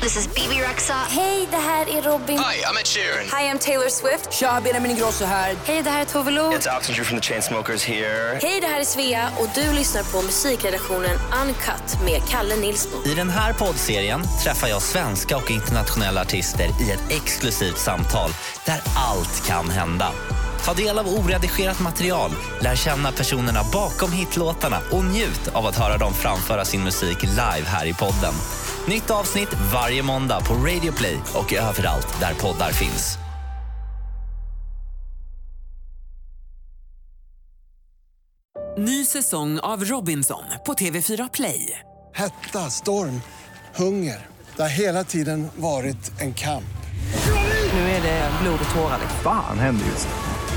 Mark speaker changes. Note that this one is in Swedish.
Speaker 1: This is BB Rexa.
Speaker 2: Hej, det här är Robin.
Speaker 3: Hi, I'm Ed Sheeran.
Speaker 2: Hi, I'm Taylor Swift.
Speaker 4: Tja, Benjamin Ingrosso här.
Speaker 2: Hej, det här är Tove Lo.
Speaker 3: It's Alex Drew from the Chainsmokers here.
Speaker 2: Hej, det här är Svea och du lyssnar på musikredaktionen Uncut med Kalle Nilsson.
Speaker 5: I den här poddserien träffar jag svenska och internationella artister i ett exklusivt samtal där allt kan hända. Ta del av oredigerat material, lär känna personerna bakom hitlåtarna och njut av att höra dem framföra sin musik live här i podden. Nytt avsnitt varje måndag på Radio Play och överallt där poddar finns.
Speaker 6: Ny säsong av Robinson på TV4 Play.
Speaker 7: Hetta, storm, hunger. Det har hela tiden varit en kamp.
Speaker 6: Nu är det blod och tårar. liksom.
Speaker 8: Fan händer just nu.